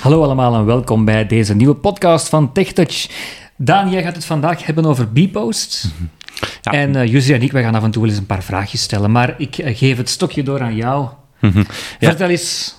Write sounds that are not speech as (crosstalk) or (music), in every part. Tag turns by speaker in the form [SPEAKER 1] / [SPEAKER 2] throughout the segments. [SPEAKER 1] Hallo allemaal en welkom bij deze nieuwe podcast van TechTouch. Daan, jij gaat het vandaag hebben over B-posts.
[SPEAKER 2] Ja.
[SPEAKER 1] En eh Jussi en ik, wij gaan af en toe wel eens een paar vraagjes stellen. Maar ik eh, geef het stokje door aan jou.
[SPEAKER 2] Mhm.
[SPEAKER 1] Vertel eens.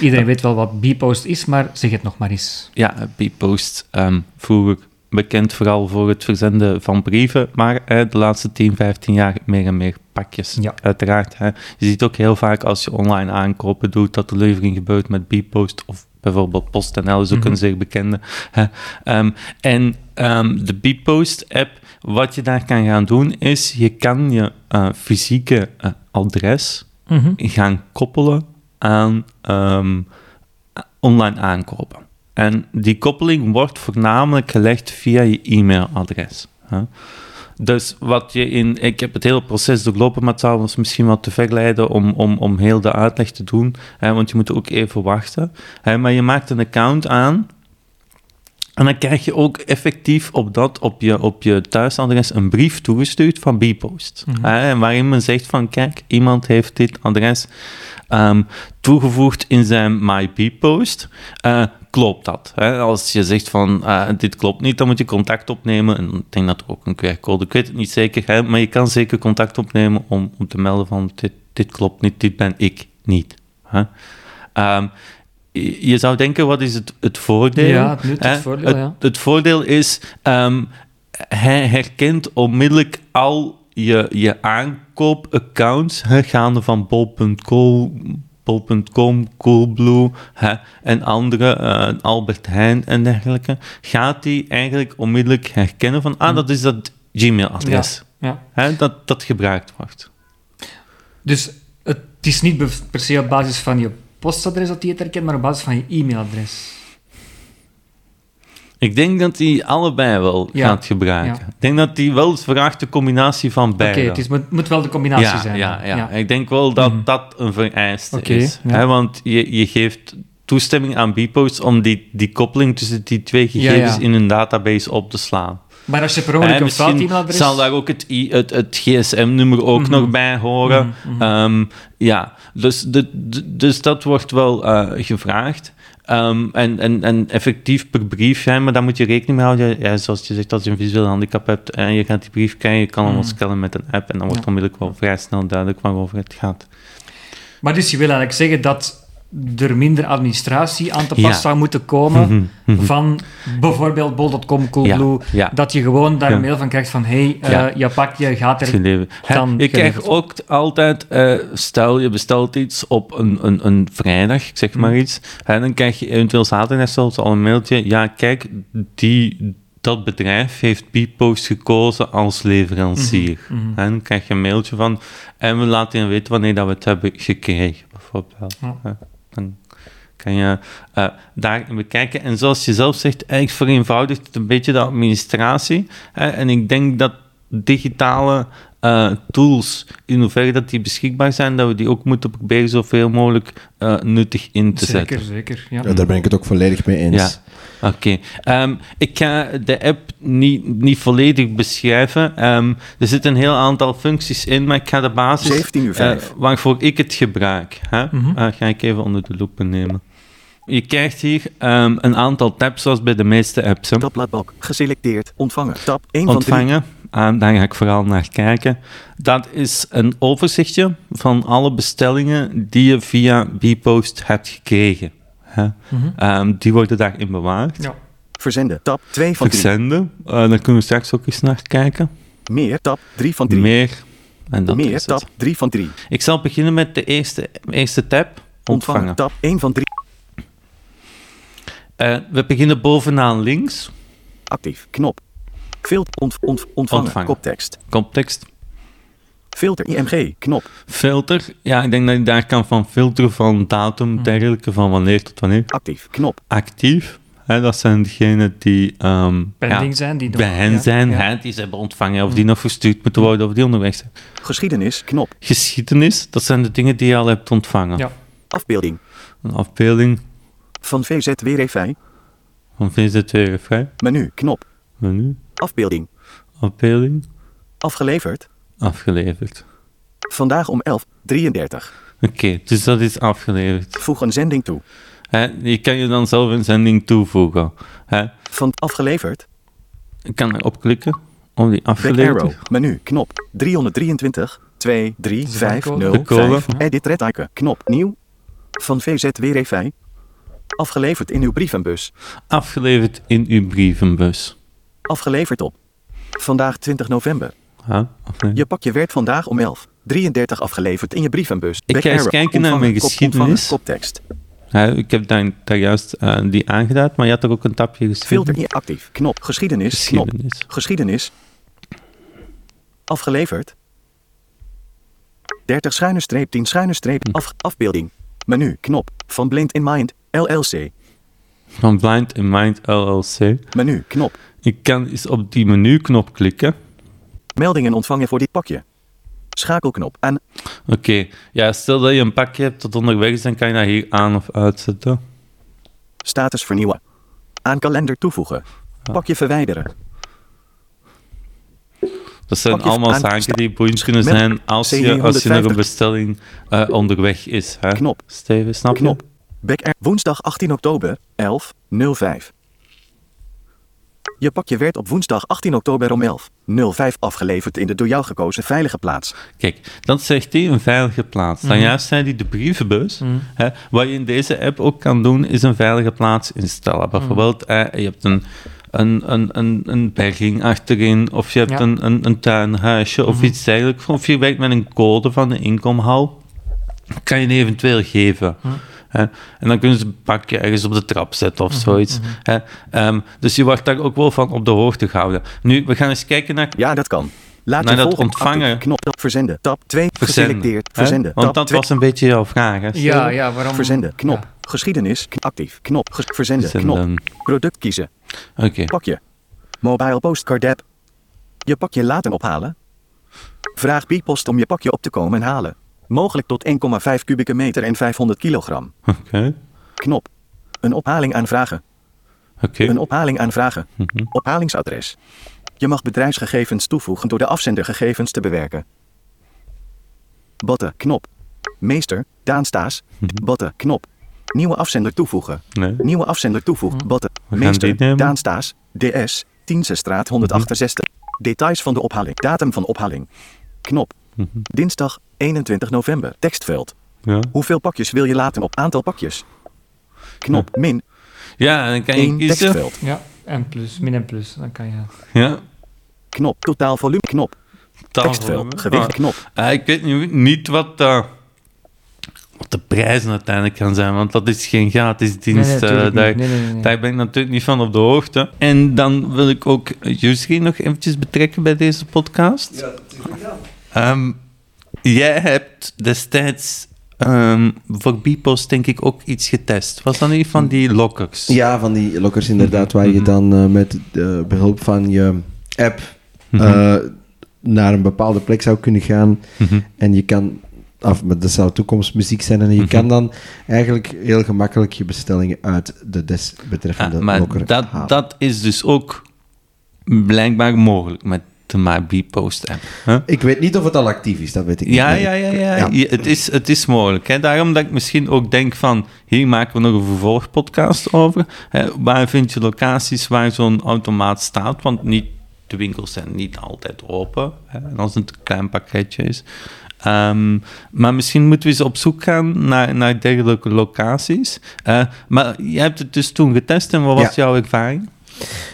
[SPEAKER 1] Iedereen weet wel wat B-post is, maar zeg het nog maar eens.
[SPEAKER 2] Ja, B-Post, ehm, vroeger bekend vooral voor het verzenden van brieven, maar eh, de laatste 10, 15 jaar meer en meer pakjes.
[SPEAKER 1] Ja.
[SPEAKER 2] Uiteraard. Hè. Je ziet ook heel vaak als je online aankopen doet dat de levering gebeurt met B-Post of bijvoorbeeld PostNL is ook een zeer bekende. Hè. Ehm, en ehm, de B-Post-app, wat je daar kan gaan doen is, je kan je eh, fysieke eh, adres
[SPEAKER 1] Mhm.
[SPEAKER 2] gaan koppelen aan ehm, online aankopen. En die koppeling wordt voornamelijk gelegd via je e-mailadres. hè. Dus wat je in. Ik heb het hele proces doorlopen, maar het zou ons misschien wat te ver leiden om, om, om heel de uitleg te doen. Hè, want je moet ook even wachten. Hè, maar je maakt een account aan. En dan krijg je ook effectief op, dat, op, je, op je thuisadres een brief toegestuurd van Bpost. Hè, en waarin men zegt van kijk, iemand heeft dit adres ehm, toegevoegd in zijn MyBpost. Eh klopt dat? Hè? Als je zegt van eh, dit klopt niet, dan moet je contact opnemen. En ik denk dat er ook een QR-code, ik weet het niet zeker, hè, maar je kan zeker contact opnemen om, om te melden van dit, dit klopt niet, dit ben ik niet. Hè? Ehm, je je zou denken, wat is het, het voordeel?
[SPEAKER 1] Ja, het nut, het
[SPEAKER 2] Hè?
[SPEAKER 1] voordeel, ja.
[SPEAKER 2] het voordeel is, ehm, hij herkent onmiddellijk al je, je aankoopaccounts, hè, gaande van bol.com, bol.com, Coolblue hè, en andere, eh, Albert Heijn en dergelijke, gaat hij eigenlijk onmiddellijk herkennen van, ah, dat is dat Gmail-adres
[SPEAKER 1] Mm. Ja.
[SPEAKER 2] hè, dat, dat gebruikt wordt.
[SPEAKER 1] Dus het is niet bev- per se op basis van je postadres dat die het herkent, maar op basis van je e-mailadres.
[SPEAKER 2] Ik denk dat hij allebei wel
[SPEAKER 1] Ja,
[SPEAKER 2] gaat gebruiken.
[SPEAKER 1] ja.
[SPEAKER 2] Ik denk dat hij wel vraagt de combinatie van
[SPEAKER 1] Oké,
[SPEAKER 2] beide.
[SPEAKER 1] het is- moet, moet wel de combinatie
[SPEAKER 2] ja,
[SPEAKER 1] zijn.
[SPEAKER 2] Ja,
[SPEAKER 1] dan.
[SPEAKER 2] ja. ik denk wel dat dat een vereiste
[SPEAKER 1] Oké,
[SPEAKER 2] is.
[SPEAKER 1] ja.
[SPEAKER 2] Hè, want je, je geeft toestemming aan Bpost om die, die koppeling tussen die twee gegevens
[SPEAKER 1] ja.
[SPEAKER 2] in hun database op te slaan.
[SPEAKER 1] Maar als je per ongeluk
[SPEAKER 2] Hè,
[SPEAKER 1] een fout e-mailadres...
[SPEAKER 2] Eh, zal daar ook het, i- het, het GSM-nummer ook nog bij horen. Ehm, ja, dus, de, de- dus dat wordt wel eh, gevraagd. Ehm, en, en, en effectief per brief, hè, maar daar moet je rekening mee houden. Ja, zoals je zegt, als je een visueel handicap hebt en je gaat die brief krijgen, je kan hem wel scannen met een app en dan wordt
[SPEAKER 1] Ja.
[SPEAKER 2] onmiddellijk wel vrij snel duidelijk waarover het gaat.
[SPEAKER 1] Maar dus je wil eigenlijk zeggen dat er minder administratie aan te pas
[SPEAKER 2] Ja. Mhm,
[SPEAKER 1] zou moeten komen van bijvoorbeeld bol.com, Coolblue,
[SPEAKER 2] Ja, ja.
[SPEAKER 1] dat je gewoon daar
[SPEAKER 2] Ja.
[SPEAKER 1] een mail van krijgt van hé, hey, eh,
[SPEAKER 2] Ja.
[SPEAKER 1] je pakje gaat er...
[SPEAKER 2] geleverd. Hè,
[SPEAKER 1] dan
[SPEAKER 2] ik krijg
[SPEAKER 1] geleverd.
[SPEAKER 2] ook t- altijd, eh, stel je bestelt iets op een, een, een vrijdag, ik zeg maar iets, hè, dan krijg je eventueel zaterdag zelfs al een mailtje. Ja, kijk, die, dat bedrijf heeft Bpost gekozen als leverancier. Hè, dan krijg je een mailtje van en we laten je weten wanneer dat we het hebben gekregen, bijvoorbeeld.
[SPEAKER 1] Ja.
[SPEAKER 2] Hè, dan kan je eh daarin bekijken. En zoals je zelf zegt, eigenlijk vereenvoudigt het een beetje de administratie. Hè? En ik denk dat digitale eh, tools, in hoeverre dat die beschikbaar zijn, dat we die ook moeten proberen zoveel mogelijk eh, nuttig in te zetten.
[SPEAKER 1] Zeker, zeker. Ja.
[SPEAKER 3] Ja, daar ben ik het ook volledig mee eens.
[SPEAKER 2] Ja, oké. Ehm, ik ga de app niet, niet volledig beschrijven. Ehm, er zitten een heel aantal functies in, maar ik ga de basis
[SPEAKER 3] 17 uur vijf.
[SPEAKER 2] eh, waarvoor ik het gebruik, hè? Eh, ga ik even onder de loep nemen. Je krijgt hier ehm, een aantal tabs, zoals bij de meeste apps. hè.
[SPEAKER 4] Tabbladbalk. Geselecteerd. Ontvangen. Tab 1 van 3.
[SPEAKER 2] Ontvangen, Ah, daar ga ik vooral naar kijken. Dat is een overzichtje van alle bestellingen die je via Bpost hebt gekregen. hè. Ehm, die worden daarin bewaard.
[SPEAKER 1] Ja.
[SPEAKER 4] Verzenden. Tab 2 van 3.
[SPEAKER 2] Verzenden, eh, daar kunnen we straks ook eens naar kijken.
[SPEAKER 4] Meer. Tab 3 van 3.
[SPEAKER 2] Meer. En dat
[SPEAKER 4] Meer.
[SPEAKER 2] is het.
[SPEAKER 4] Tab 3 van 3.
[SPEAKER 2] Ik zal beginnen met de eerste, eerste tab. Ontvangen.
[SPEAKER 4] Ontvangen. Tab 1 van 3.
[SPEAKER 2] Eh, we beginnen bovenaan links.
[SPEAKER 4] Actief. Knop. Filter. Ont, ont, ontvangen.
[SPEAKER 2] Ontvangen.
[SPEAKER 4] Koptekst.
[SPEAKER 2] Context.
[SPEAKER 4] Filter. IMG. Knop.
[SPEAKER 2] Filter. Ja, ik denk dat je daar kan van filteren van datum, dergelijke, van wanneer tot wanneer.
[SPEAKER 4] Actief. Knop.
[SPEAKER 2] Actief. Hè, dat zijn degenen die ehm,
[SPEAKER 1] Pending
[SPEAKER 2] ja,
[SPEAKER 1] zijn, die nog-
[SPEAKER 2] bij hen
[SPEAKER 1] ja,
[SPEAKER 2] zijn,
[SPEAKER 1] ja.
[SPEAKER 2] Hè, die ze hebben ontvangen of die nog verstuurd moeten worden of die onderweg zijn.
[SPEAKER 4] Geschiedenis. Knop.
[SPEAKER 2] Geschiedenis, dat zijn de dingen die je al hebt ontvangen.
[SPEAKER 1] Ja.
[SPEAKER 4] Afbeelding.
[SPEAKER 2] Een afbeelding
[SPEAKER 4] Van VZWRFI.
[SPEAKER 2] van VZW vrij.
[SPEAKER 4] Menu. Knop.
[SPEAKER 2] Menu.
[SPEAKER 4] Afbeelding.
[SPEAKER 2] Afbeelding.
[SPEAKER 4] Afgeleverd.
[SPEAKER 2] Afgeleverd.
[SPEAKER 4] Vandaag om 11.33.
[SPEAKER 2] Oké, dus dat is afgeleverd.
[SPEAKER 4] Voeg een zending toe.
[SPEAKER 2] Hè, je kan je dan zelf een zending toevoegen. Hè.
[SPEAKER 4] Van afgeleverd.
[SPEAKER 2] Ik kan erop klikken om die
[SPEAKER 4] Back
[SPEAKER 2] afgeleverd
[SPEAKER 4] arrow. Menu. Knop. 323. 2, 3,
[SPEAKER 1] Is
[SPEAKER 4] 5,
[SPEAKER 1] dat
[SPEAKER 4] 0,
[SPEAKER 2] De code?
[SPEAKER 4] 5.
[SPEAKER 1] Ja.
[SPEAKER 4] Edit red icon. Knop. Nieuw. Van VZWRV. Afgeleverd in uw brievenbus.
[SPEAKER 2] afgeleverd in uw brievenbus.
[SPEAKER 4] Afgeleverd op. Vandaag 20 november.
[SPEAKER 2] Hè? Afgeleverd.
[SPEAKER 4] Je pakje werd vandaag om 11. 33 afgeleverd in je brievenbus.
[SPEAKER 2] Ik
[SPEAKER 4] Back
[SPEAKER 2] ga eens
[SPEAKER 4] arrow.
[SPEAKER 2] kijken naar
[SPEAKER 4] Ontvangen,
[SPEAKER 2] mijn
[SPEAKER 4] kop, ontvangen,
[SPEAKER 2] geschiedenis.
[SPEAKER 4] Koptekst.
[SPEAKER 2] Hè, ik heb daar, daar juist eh, die aangedaan, maar je had er ook een tapje
[SPEAKER 4] Filter
[SPEAKER 2] geschreven.
[SPEAKER 4] niet actief. Knop. Geschiedenis. Knop.
[SPEAKER 2] Mhm. Geschiedenis.
[SPEAKER 4] Geschiedenis. Afgeleverd. 30 schuine streep 10 schuine streep af, afbeelding. Menu. Knop. Van Blind in Mind. LLC.
[SPEAKER 2] Van Blind in Mind LLC.
[SPEAKER 4] Menu. Knop.
[SPEAKER 2] Ik kan eens op die menuknop klikken.
[SPEAKER 4] Meldingen ontvangen voor dit pakje. Schakelknop aan.
[SPEAKER 2] Oké, ja, stel dat je een pakje hebt dat onderweg is, dan kan je dat hier aan of uitzetten.
[SPEAKER 4] Status vernieuwen. Aan kalender toevoegen. Pakje verwijderen.
[SPEAKER 2] Dat zijn
[SPEAKER 4] Pakje
[SPEAKER 2] allemaal
[SPEAKER 4] aan-
[SPEAKER 2] zaken die boeiend kunnen
[SPEAKER 4] Met-
[SPEAKER 2] zijn als je, als je nog een
[SPEAKER 4] CD150.
[SPEAKER 2] bestelling eh, onderweg is. Hè?
[SPEAKER 4] Knop.
[SPEAKER 2] Steven, snap je?
[SPEAKER 4] Knop. Back air. Woensdag 18 oktober. 11.05. Je pakje werd op woensdag 18 oktober om 11.05 afgeleverd in de door jou gekozen veilige plaats.
[SPEAKER 2] Kijk, dan zegt hij een veilige plaats. Dan juist zei hij de brievenbus. Hè? Wat je in deze app ook kan doen, is een veilige plaats instellen. Bijvoorbeeld, eh, je hebt een, een, een, een, een berging achterin, of je hebt
[SPEAKER 1] Ja.
[SPEAKER 2] een, een, een tuinhuisje, of iets dergelijks. Of je werkt met een code van de inkomhal, kan je die eventueel geven. Hè? En dan kunnen ze een pakje ergens op de trap zetten of zoiets. Hè? Ehm, dus je wordt daar ook wel van op de hoogte gehouden. Nu, we gaan eens kijken naar
[SPEAKER 4] Ja, dat kan. Laat
[SPEAKER 2] Nee,
[SPEAKER 4] je
[SPEAKER 2] Nou, dat
[SPEAKER 4] volgende
[SPEAKER 2] ontvangen.
[SPEAKER 4] actief. knop dat verzenden. Tab 2
[SPEAKER 2] verzenden.
[SPEAKER 4] geselecteerd.
[SPEAKER 2] hè?
[SPEAKER 4] Verzenden.
[SPEAKER 2] Want
[SPEAKER 4] tab
[SPEAKER 2] dat
[SPEAKER 4] 2.
[SPEAKER 2] was een beetje jouw vraag. Hè?
[SPEAKER 1] Ja, ja, waarom?
[SPEAKER 4] verzenden. Knop.
[SPEAKER 1] Ja.
[SPEAKER 4] Geschiedenis K- actief. Knop Ges- verzenden.
[SPEAKER 2] Verzenden.
[SPEAKER 4] Knop. Product kiezen.
[SPEAKER 2] Oké.
[SPEAKER 4] Pakje. Mobile postcard app. Je pakje laten ophalen. Vraag Bpost om je pakje op te komen halen. Mogelijk tot 1,5 kubieke meter en 500 kilogram.
[SPEAKER 2] Oké.
[SPEAKER 4] Knop. Een ophaling aanvragen.
[SPEAKER 2] Oké. Mhm.
[SPEAKER 4] Een ophaling aanvragen. Ophalingsadres. Je mag bedrijfsgegevens toevoegen door de afzender gegevens te bewerken. Botten, knop. Meester, Daan Staes. Botten, knop. Nieuwe afzender toevoegen.
[SPEAKER 2] Mhm. Nee.
[SPEAKER 4] Nieuwe afzender toevoegen. Botten,
[SPEAKER 2] gaan
[SPEAKER 4] meester,
[SPEAKER 2] dit nemen. Mhm.
[SPEAKER 4] Daan Staes. DS, Tiense straat 168. Details van de ophaling. Datum van ophaling. Knop.
[SPEAKER 2] Mhm.
[SPEAKER 4] Dinsdag, 21 november. Tekstveld.
[SPEAKER 2] Ja.
[SPEAKER 4] Hoeveel pakjes wil je laten op aantal pakjes? Knop, min,
[SPEAKER 2] ja, en dan kan je
[SPEAKER 4] 1
[SPEAKER 2] kiezen.
[SPEAKER 4] tekstveld.
[SPEAKER 1] Ja, en plus, min en plus. Dan kan je...
[SPEAKER 2] Ja.
[SPEAKER 4] Knop, totaal volume, knop.
[SPEAKER 2] Taalvolume.
[SPEAKER 4] Tekstveld, gewicht,
[SPEAKER 2] Ah.
[SPEAKER 4] knop.
[SPEAKER 2] Ah, ik weet nu niet wat, eh, wat de prijzen uiteindelijk gaan zijn, want dat is geen gratis
[SPEAKER 1] Nee,
[SPEAKER 2] dienst.
[SPEAKER 1] nee,
[SPEAKER 2] eh,
[SPEAKER 1] tuurlijk
[SPEAKER 2] daar,
[SPEAKER 1] niet. Nee, nee, nee, nee.
[SPEAKER 2] daar ben ik natuurlijk niet van op de hoogte. En dan wil ik ook Jusri nog eventjes betrekken bij deze podcast. Ja, Ehm, jij hebt destijds ehm, voor Bipos denk ik ook iets getest. Was dat niet van die lockers?
[SPEAKER 3] Ja, van die lockers inderdaad, waar je dan eh, met eh, behulp van je app
[SPEAKER 2] Mhm.
[SPEAKER 3] eh, naar een bepaalde plek zou kunnen gaan.
[SPEAKER 2] Ah,
[SPEAKER 3] En je kan, af, maar dat zou toekomstmuziek zijn, en je
[SPEAKER 2] Mhm.
[SPEAKER 3] kan dan eigenlijk heel gemakkelijk je bestellingen uit de desbetreffende
[SPEAKER 2] Ah, maar
[SPEAKER 3] locker
[SPEAKER 2] dat,
[SPEAKER 3] halen.
[SPEAKER 2] dat is dus ook blijkbaar mogelijk met de MyBeepost app. hè?
[SPEAKER 3] Ik weet niet of het al actief is, dat weet ik
[SPEAKER 2] Ja,
[SPEAKER 3] niet.
[SPEAKER 2] ja, ja, ja,
[SPEAKER 3] Ja.
[SPEAKER 2] Je- het, is, het is mogelijk. Hè. Daarom dat ik misschien ook denk van, hier maken we nog een vervolgpodcast over. Hè. Waar vind je locaties waar zo'n automaat staat? Want niet, de winkels zijn niet altijd open. Hè. En als het een klein pakketje is. Ehm, maar misschien moeten we eens op zoek gaan naar, naar dergelijke locaties. Eh, maar jij hebt het dus toen getest en wat was
[SPEAKER 3] Ja.
[SPEAKER 2] jouw ervaring?
[SPEAKER 1] Mm.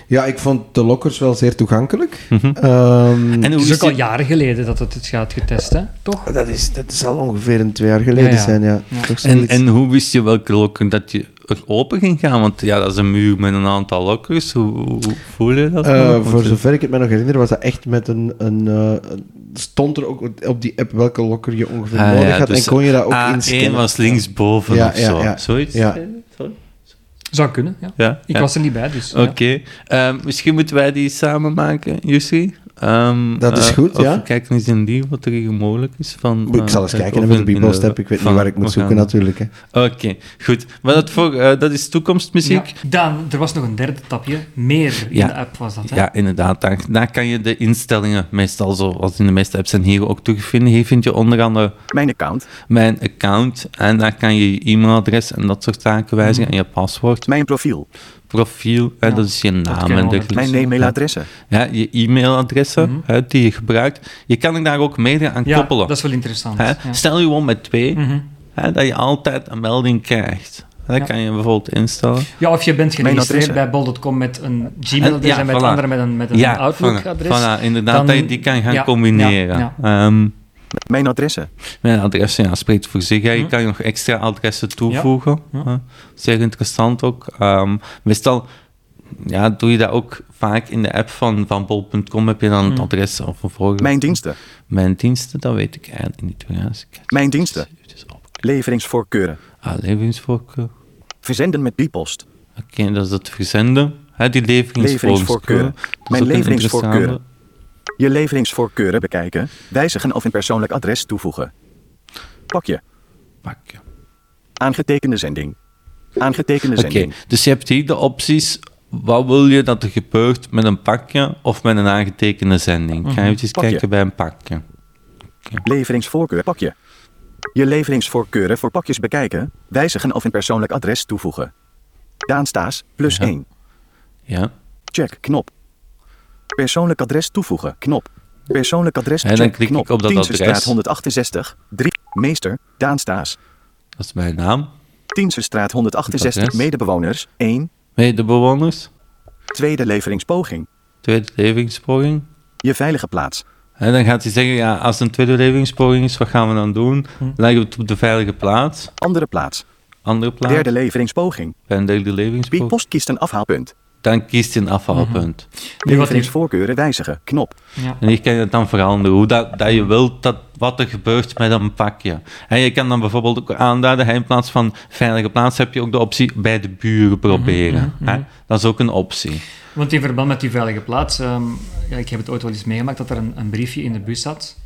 [SPEAKER 3] Ja, ik vond de lockers wel zeer toegankelijk.
[SPEAKER 2] Mhm.
[SPEAKER 3] Ehm,
[SPEAKER 2] En
[SPEAKER 1] Het is ook al
[SPEAKER 2] dit-
[SPEAKER 1] jaren geleden dat het het gaat getest, hè? Toch?
[SPEAKER 3] dat, is, dat is al ongeveer een twee jaar geleden
[SPEAKER 1] Ja, ja.
[SPEAKER 3] zijn, ja.
[SPEAKER 1] Ja.
[SPEAKER 3] Toch
[SPEAKER 2] En,
[SPEAKER 3] zoiets.
[SPEAKER 2] en hoe wist je welke lokker dat je er open ging gaan? Want ja, dat is een muur met een aantal lokkers. Hoe, hoe- hoe voel je dat?
[SPEAKER 3] Eh,
[SPEAKER 2] dan? Want
[SPEAKER 3] voor
[SPEAKER 2] het-
[SPEAKER 3] zover ik het me nog herinner, was dat echt met een. een eh, een- stond er ook op die app welke lokker je ongeveer
[SPEAKER 2] Ah,
[SPEAKER 3] nodig
[SPEAKER 2] ja,
[SPEAKER 3] had
[SPEAKER 2] dus
[SPEAKER 3] en kon je dat ook
[SPEAKER 2] A1
[SPEAKER 3] inscannen.
[SPEAKER 2] was linksboven
[SPEAKER 3] Ja,
[SPEAKER 2] of
[SPEAKER 3] ja,
[SPEAKER 2] zo.
[SPEAKER 3] ja.
[SPEAKER 2] Zoiets?
[SPEAKER 3] Ja.
[SPEAKER 2] Sorry?
[SPEAKER 1] Zou kunnen, ja.
[SPEAKER 2] Ja,
[SPEAKER 1] Ik
[SPEAKER 2] ja.
[SPEAKER 1] was er niet bij, dus... ja.
[SPEAKER 2] Oké. Ehm, misschien moeten wij die samen maken, Jussi. Ehm,
[SPEAKER 3] Dat is
[SPEAKER 2] eh,
[SPEAKER 3] goed,
[SPEAKER 2] of
[SPEAKER 3] ja.
[SPEAKER 2] we kijken eens in die wat er hier mogelijk is. Van, eh,
[SPEAKER 3] Ik zal eens kijken hè, met de Bibelstep. Ik weet niet waar ik moet zoeken,
[SPEAKER 2] natuurlijk.
[SPEAKER 3] natuurlijk. Hè.
[SPEAKER 2] Oké, goed. Maar dat, voor, eh, dat is toekomstmuziek.
[SPEAKER 1] Ja. Dan, er was nog een derde tapje. Meer in
[SPEAKER 2] Ja.
[SPEAKER 1] de app was dat, hè?
[SPEAKER 2] Ja, inderdaad. Daar, daar kan je de instellingen, meestal zoals in de meeste apps, en hier ook terugvinden. Hier vind je onder andere
[SPEAKER 4] Mijn account.
[SPEAKER 2] mijn account en daar kan je je e-mailadres en dat soort zaken wijzigen
[SPEAKER 1] Hmm.
[SPEAKER 2] en je paswoord,
[SPEAKER 4] Mijn profiel.
[SPEAKER 2] profiel, hè, dat is je naam
[SPEAKER 1] kennen
[SPEAKER 2] en
[SPEAKER 1] we
[SPEAKER 2] dergelijke.
[SPEAKER 1] wel.
[SPEAKER 4] Mijn e-mailadressen.
[SPEAKER 2] Ja, je e-mailadressen hè, die je gebruikt. Je kan er daar ook mede aan
[SPEAKER 1] Hmm. Ja,
[SPEAKER 2] koppelen.
[SPEAKER 1] dat is wel interessant.
[SPEAKER 2] hè.
[SPEAKER 1] Ja. Hmm. Mhm.
[SPEAKER 2] Stel je gewoon met twee, hè, dat je altijd een melding krijgt. Dat
[SPEAKER 1] Ja.
[SPEAKER 2] kan je bijvoorbeeld instellen.
[SPEAKER 1] Ja, of je bent geregistreerd
[SPEAKER 4] adres,
[SPEAKER 1] bij
[SPEAKER 4] hè?
[SPEAKER 1] bol.com met een Gmail-adres en,
[SPEAKER 2] ja,
[SPEAKER 1] met
[SPEAKER 2] voilà.
[SPEAKER 1] anderen met een, met een
[SPEAKER 2] ja,
[SPEAKER 1] Outlook-adres.
[SPEAKER 2] voilà, voilà, inderdaad,
[SPEAKER 1] dan-
[SPEAKER 2] dat je die kan gaan
[SPEAKER 1] ja,
[SPEAKER 2] combineren.
[SPEAKER 1] ja,
[SPEAKER 2] Ehm,
[SPEAKER 4] Mijn adressen.
[SPEAKER 2] mijn adressen ja, spreekt voor zich. hè. Je kan nog extra adressen toevoegen. hè. Zeer interessant ook. Ehm, meestal ja, doe je dat ook vaak in de app van, van bol.com. Heb je dan het adres of een voorbeeld.
[SPEAKER 4] Mijn diensten.
[SPEAKER 2] Mijn diensten, dat weet ik eigenlijk niet meer. Ja, dus ik-
[SPEAKER 4] Mijn diensten.
[SPEAKER 2] Eventjes op.
[SPEAKER 4] Leveringsvoorkeuren.
[SPEAKER 2] Ah, leveringsvoorkeur.
[SPEAKER 4] Verzenden met biepost.
[SPEAKER 2] Oké, dat is het verzenden. Hè, die leveringsvoorkeur.
[SPEAKER 4] Leveringsvoorkeur.
[SPEAKER 2] Dat is
[SPEAKER 4] Mijn
[SPEAKER 2] ook een
[SPEAKER 4] leveringsvoorkeur.
[SPEAKER 2] interessante.
[SPEAKER 4] Je leveringsvoorkeuren bekijken, wijzigen of een persoonlijk adres toevoegen. Pakje.
[SPEAKER 2] Pakken.
[SPEAKER 4] Aangetekende zending. Aangetekende
[SPEAKER 2] Oké,
[SPEAKER 4] zending.
[SPEAKER 2] dus je hebt hier de opties. Wat wil je dat er gebeurt met een pakje of met een aangetekende zending? Ik ga eventjes
[SPEAKER 4] Mhm. Pakje.
[SPEAKER 2] kijken bij een pakje.
[SPEAKER 4] Leveringsvoorkeur pakje. Je leveringsvoorkeuren voor pakjes bekijken, wijzigen of een persoonlijk adres toevoegen. Daan Staes, plus 1.
[SPEAKER 2] Ja.
[SPEAKER 4] Check, knop. Persoonlijk adres toevoegen, knop. Persoonlijk adres,
[SPEAKER 2] En dan
[SPEAKER 4] check,
[SPEAKER 2] klik ik
[SPEAKER 4] knop.
[SPEAKER 2] op dat
[SPEAKER 4] Tiensestraat
[SPEAKER 2] adres.
[SPEAKER 4] 168, 3. Meester, Daan Staes.
[SPEAKER 2] Dat is mijn naam.
[SPEAKER 4] Tiensestraat
[SPEAKER 2] Adres.
[SPEAKER 4] 168, medebewoners, 1.
[SPEAKER 2] Medebewoners.
[SPEAKER 4] Tweede leveringspoging.
[SPEAKER 2] Tweede leveringspoging.
[SPEAKER 4] Je veilige plaats.
[SPEAKER 2] En dan gaat hij zeggen, ja, als het een tweede leveringspoging is, wat gaan we dan doen?
[SPEAKER 4] Mhm.
[SPEAKER 2] Leggen we het op de veilige plaats.
[SPEAKER 4] Andere plaats.
[SPEAKER 2] Andere plaats.
[SPEAKER 4] Derde leveringspoging.
[SPEAKER 2] Bij een derde leveringspoging.
[SPEAKER 4] Biepost kiest een afhaalpunt.
[SPEAKER 2] Dan kiest je een
[SPEAKER 4] Mhm.
[SPEAKER 2] afhaalpunt.
[SPEAKER 1] Nu wat ik...
[SPEAKER 4] Leveringsvoorkeuren wijzigen. Knop.
[SPEAKER 1] Ja.
[SPEAKER 2] En hier kan je het dan veranderen, hoe dat, dat je wilt dat, wat er gebeurt met een pakje. En je kan dan bijvoorbeeld ook aanduiden, hè, in plaats van veilige plaats heb je ook de optie bij de
[SPEAKER 1] Mhm,
[SPEAKER 2] buren proberen. hè. Dat is ook een optie.
[SPEAKER 1] Want in verband met die veilige plaats, ehm, ja, ik heb het ooit wel eens meegemaakt dat er een, een briefje in de bus zat,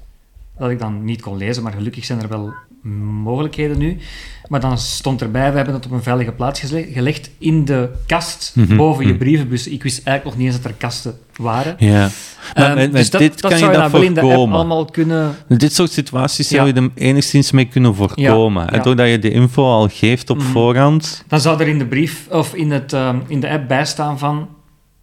[SPEAKER 1] dat ik dan niet kon lezen, maar gelukkig zijn er wel mogelijkheden nu. Maar dan stond erbij, we hebben het op een veilige plaats gele- gelegd in de kast
[SPEAKER 2] Mhm.
[SPEAKER 1] boven je brievenbus. Ik wist eigenlijk nog niet eens dat er kasten waren.
[SPEAKER 2] Ja. Maar
[SPEAKER 1] Ehm,
[SPEAKER 2] met, met
[SPEAKER 1] dus dat,
[SPEAKER 2] dit
[SPEAKER 1] dat
[SPEAKER 2] kan je
[SPEAKER 1] zou
[SPEAKER 2] dat
[SPEAKER 1] dan wel in de app
[SPEAKER 2] voorkomen.
[SPEAKER 1] allemaal kunnen...
[SPEAKER 2] Dit soort situaties zou je
[SPEAKER 1] Ja.
[SPEAKER 2] er enigszins mee kunnen voorkomen.
[SPEAKER 1] Ja, Mhm.
[SPEAKER 2] En
[SPEAKER 1] ja.
[SPEAKER 2] Doordat je de info al geeft op voorhand.
[SPEAKER 1] Dan zou er in de brief, of in, het, ehm, in de app bijstaan van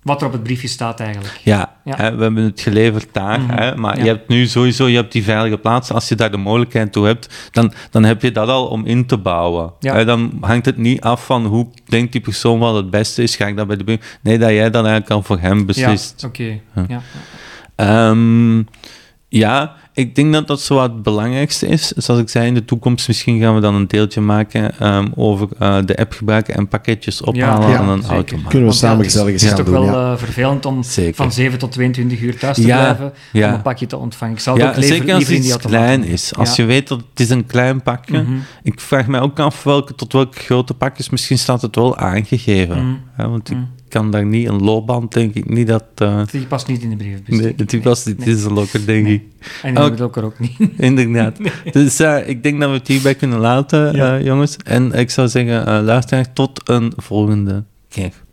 [SPEAKER 1] wat er op het briefje staat eigenlijk.
[SPEAKER 2] Ja,
[SPEAKER 1] Ja. Mhm.
[SPEAKER 2] Hè, we hebben het geleverd daar. Hè, maar
[SPEAKER 1] Ja.
[SPEAKER 2] je hebt nu sowieso je hebt die veilige plaats. Als je daar de mogelijkheid toe hebt, dan, dan heb je dat al om in te bouwen.
[SPEAKER 1] Ja.
[SPEAKER 2] Hè, dan hangt het niet af van hoe denkt die persoon wat het beste is. Ga ik dat bij de buur? Nee, dat jij dan eigenlijk al voor hem beslist.
[SPEAKER 1] Ja, oké. Ja.
[SPEAKER 2] Ehm, ja, ik denk dat dat zo wat het belangrijkste is. Zoals ik zei, in de toekomst misschien gaan we dan een deeltje maken ehm, over eh, de app gebruiken en pakketjes ophalen
[SPEAKER 1] Ja,
[SPEAKER 2] aan een
[SPEAKER 1] zeker.
[SPEAKER 2] automaat.
[SPEAKER 3] Kunnen we
[SPEAKER 1] Want ja,
[SPEAKER 3] samen
[SPEAKER 1] het is-
[SPEAKER 3] gezellig eens
[SPEAKER 1] Het is
[SPEAKER 3] gaan
[SPEAKER 1] toch
[SPEAKER 3] doen,
[SPEAKER 1] wel
[SPEAKER 3] ja.
[SPEAKER 1] eh, vervelend om
[SPEAKER 2] Zeker.
[SPEAKER 1] van 7 tot 22 uur thuis te
[SPEAKER 2] Ja,
[SPEAKER 1] blijven
[SPEAKER 2] ja.
[SPEAKER 1] om een pakje te ontvangen. Ik zou het
[SPEAKER 2] Ja,
[SPEAKER 1] ook liever,
[SPEAKER 2] zeker als
[SPEAKER 1] liever in die
[SPEAKER 2] iets
[SPEAKER 1] automaat
[SPEAKER 2] klein
[SPEAKER 1] doen.
[SPEAKER 2] is. Als
[SPEAKER 1] Ja. Mhm.
[SPEAKER 2] je weet dat het is een klein pakje. Ik vraag mij ook af welke, tot welke grote pakjes. Misschien staat het wel aangegeven.
[SPEAKER 1] Mm. mhm,
[SPEAKER 2] Hè, want ik kan daar niet een loopband, denk ik. Niet dat... eh
[SPEAKER 1] Die past niet in de brievenbus.
[SPEAKER 2] nee,
[SPEAKER 1] denk ik.
[SPEAKER 2] het was dit is een lokker, denk ik.
[SPEAKER 1] En die
[SPEAKER 2] Ook-
[SPEAKER 1] moet ook er ook niet. (laughs)
[SPEAKER 2] Inderdaad. Dus eh, ik denk dat we het hierbij kunnen laten,
[SPEAKER 1] Ja.
[SPEAKER 2] eh, jongens. En ik zou zeggen, eh luisteraar, tot een volgende keer.